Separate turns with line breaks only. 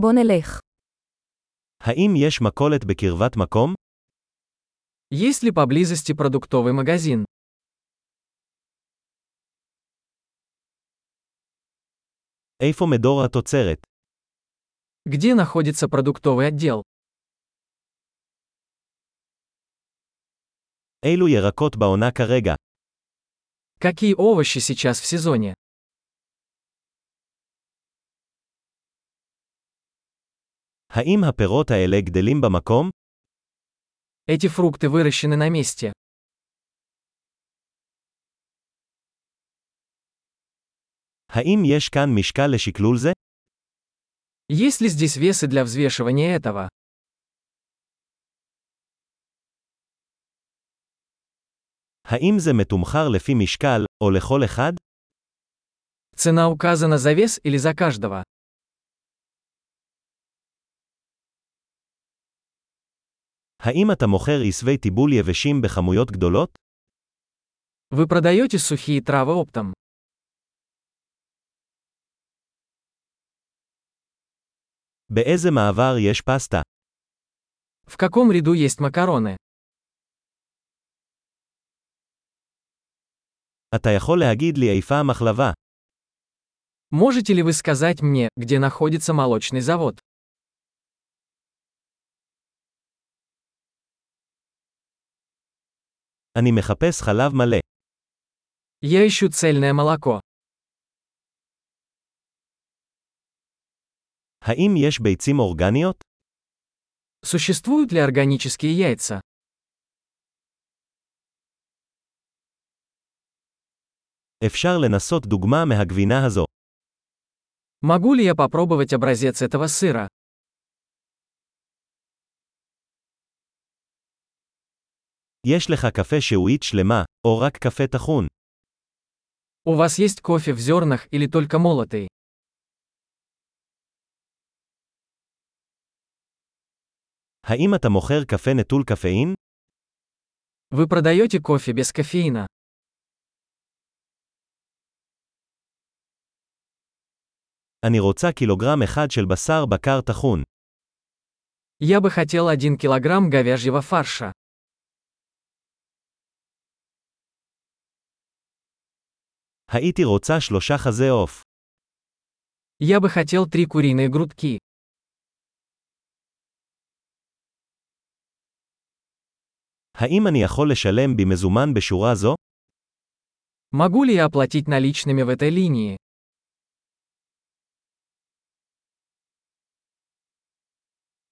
בוא נלך.
האם יש מכולת בקרבת מקום?
Есть ли поблизости продуктовый магазин?
איפה מדור התוצרת?
Где находится продуктовый отдел?
אילו ירקות בעונה כרגע?
Какие овощи сейчас в сезоне?
האם הפירות האלה גדלים במקום?
Эти фрукты выращены на месте.
האם יש כאן משקל לשקלול זה?
Есть ли здесь весы для взвешивания этого?
האם זה מתומחר לפי משקל, או לכל אחד?
Цена указана за вес или за каждого?
האם אתה מוכר עשבי טיבול יבשים בכמויות גדולות?
Вы продаете сухие травы оптом?
באיזה מעבר יש פסטה?
В каком ряду есть макароны?
אתה יכול להגיד לי איפה המחלבה?
Можете ли вы сказать мне, где находится молочный завод?
אני מחפש חלב מלא.
Я ищу цельное молоко.
האם יש ביצים אורגניות?
Существуют ли органические яйца?
אפשר לנסות דוגמה מהגבינה הזו.
Могу ли я попробовать образец этого сыра?
יש לך קפה שהועית שלמה, או רק קפה טחון.
У вас есть кофе в зернах или только молотый?
האם אתה מוכר קפה נטול קפאין?
Вы продаете кофе без кофеина?
אני רוצה קילוגרם אחד של בשר בקר טחון.
Я бы хотел 1 килограмм говяжьего фарша.
הייתי רוצה שלושה חזה עוף.
Я бы хотел 3 куриные грудки.
האם אני יכול לשלם במזומן בשורה זו?
Могу ли я оплатить наличными в этой линии?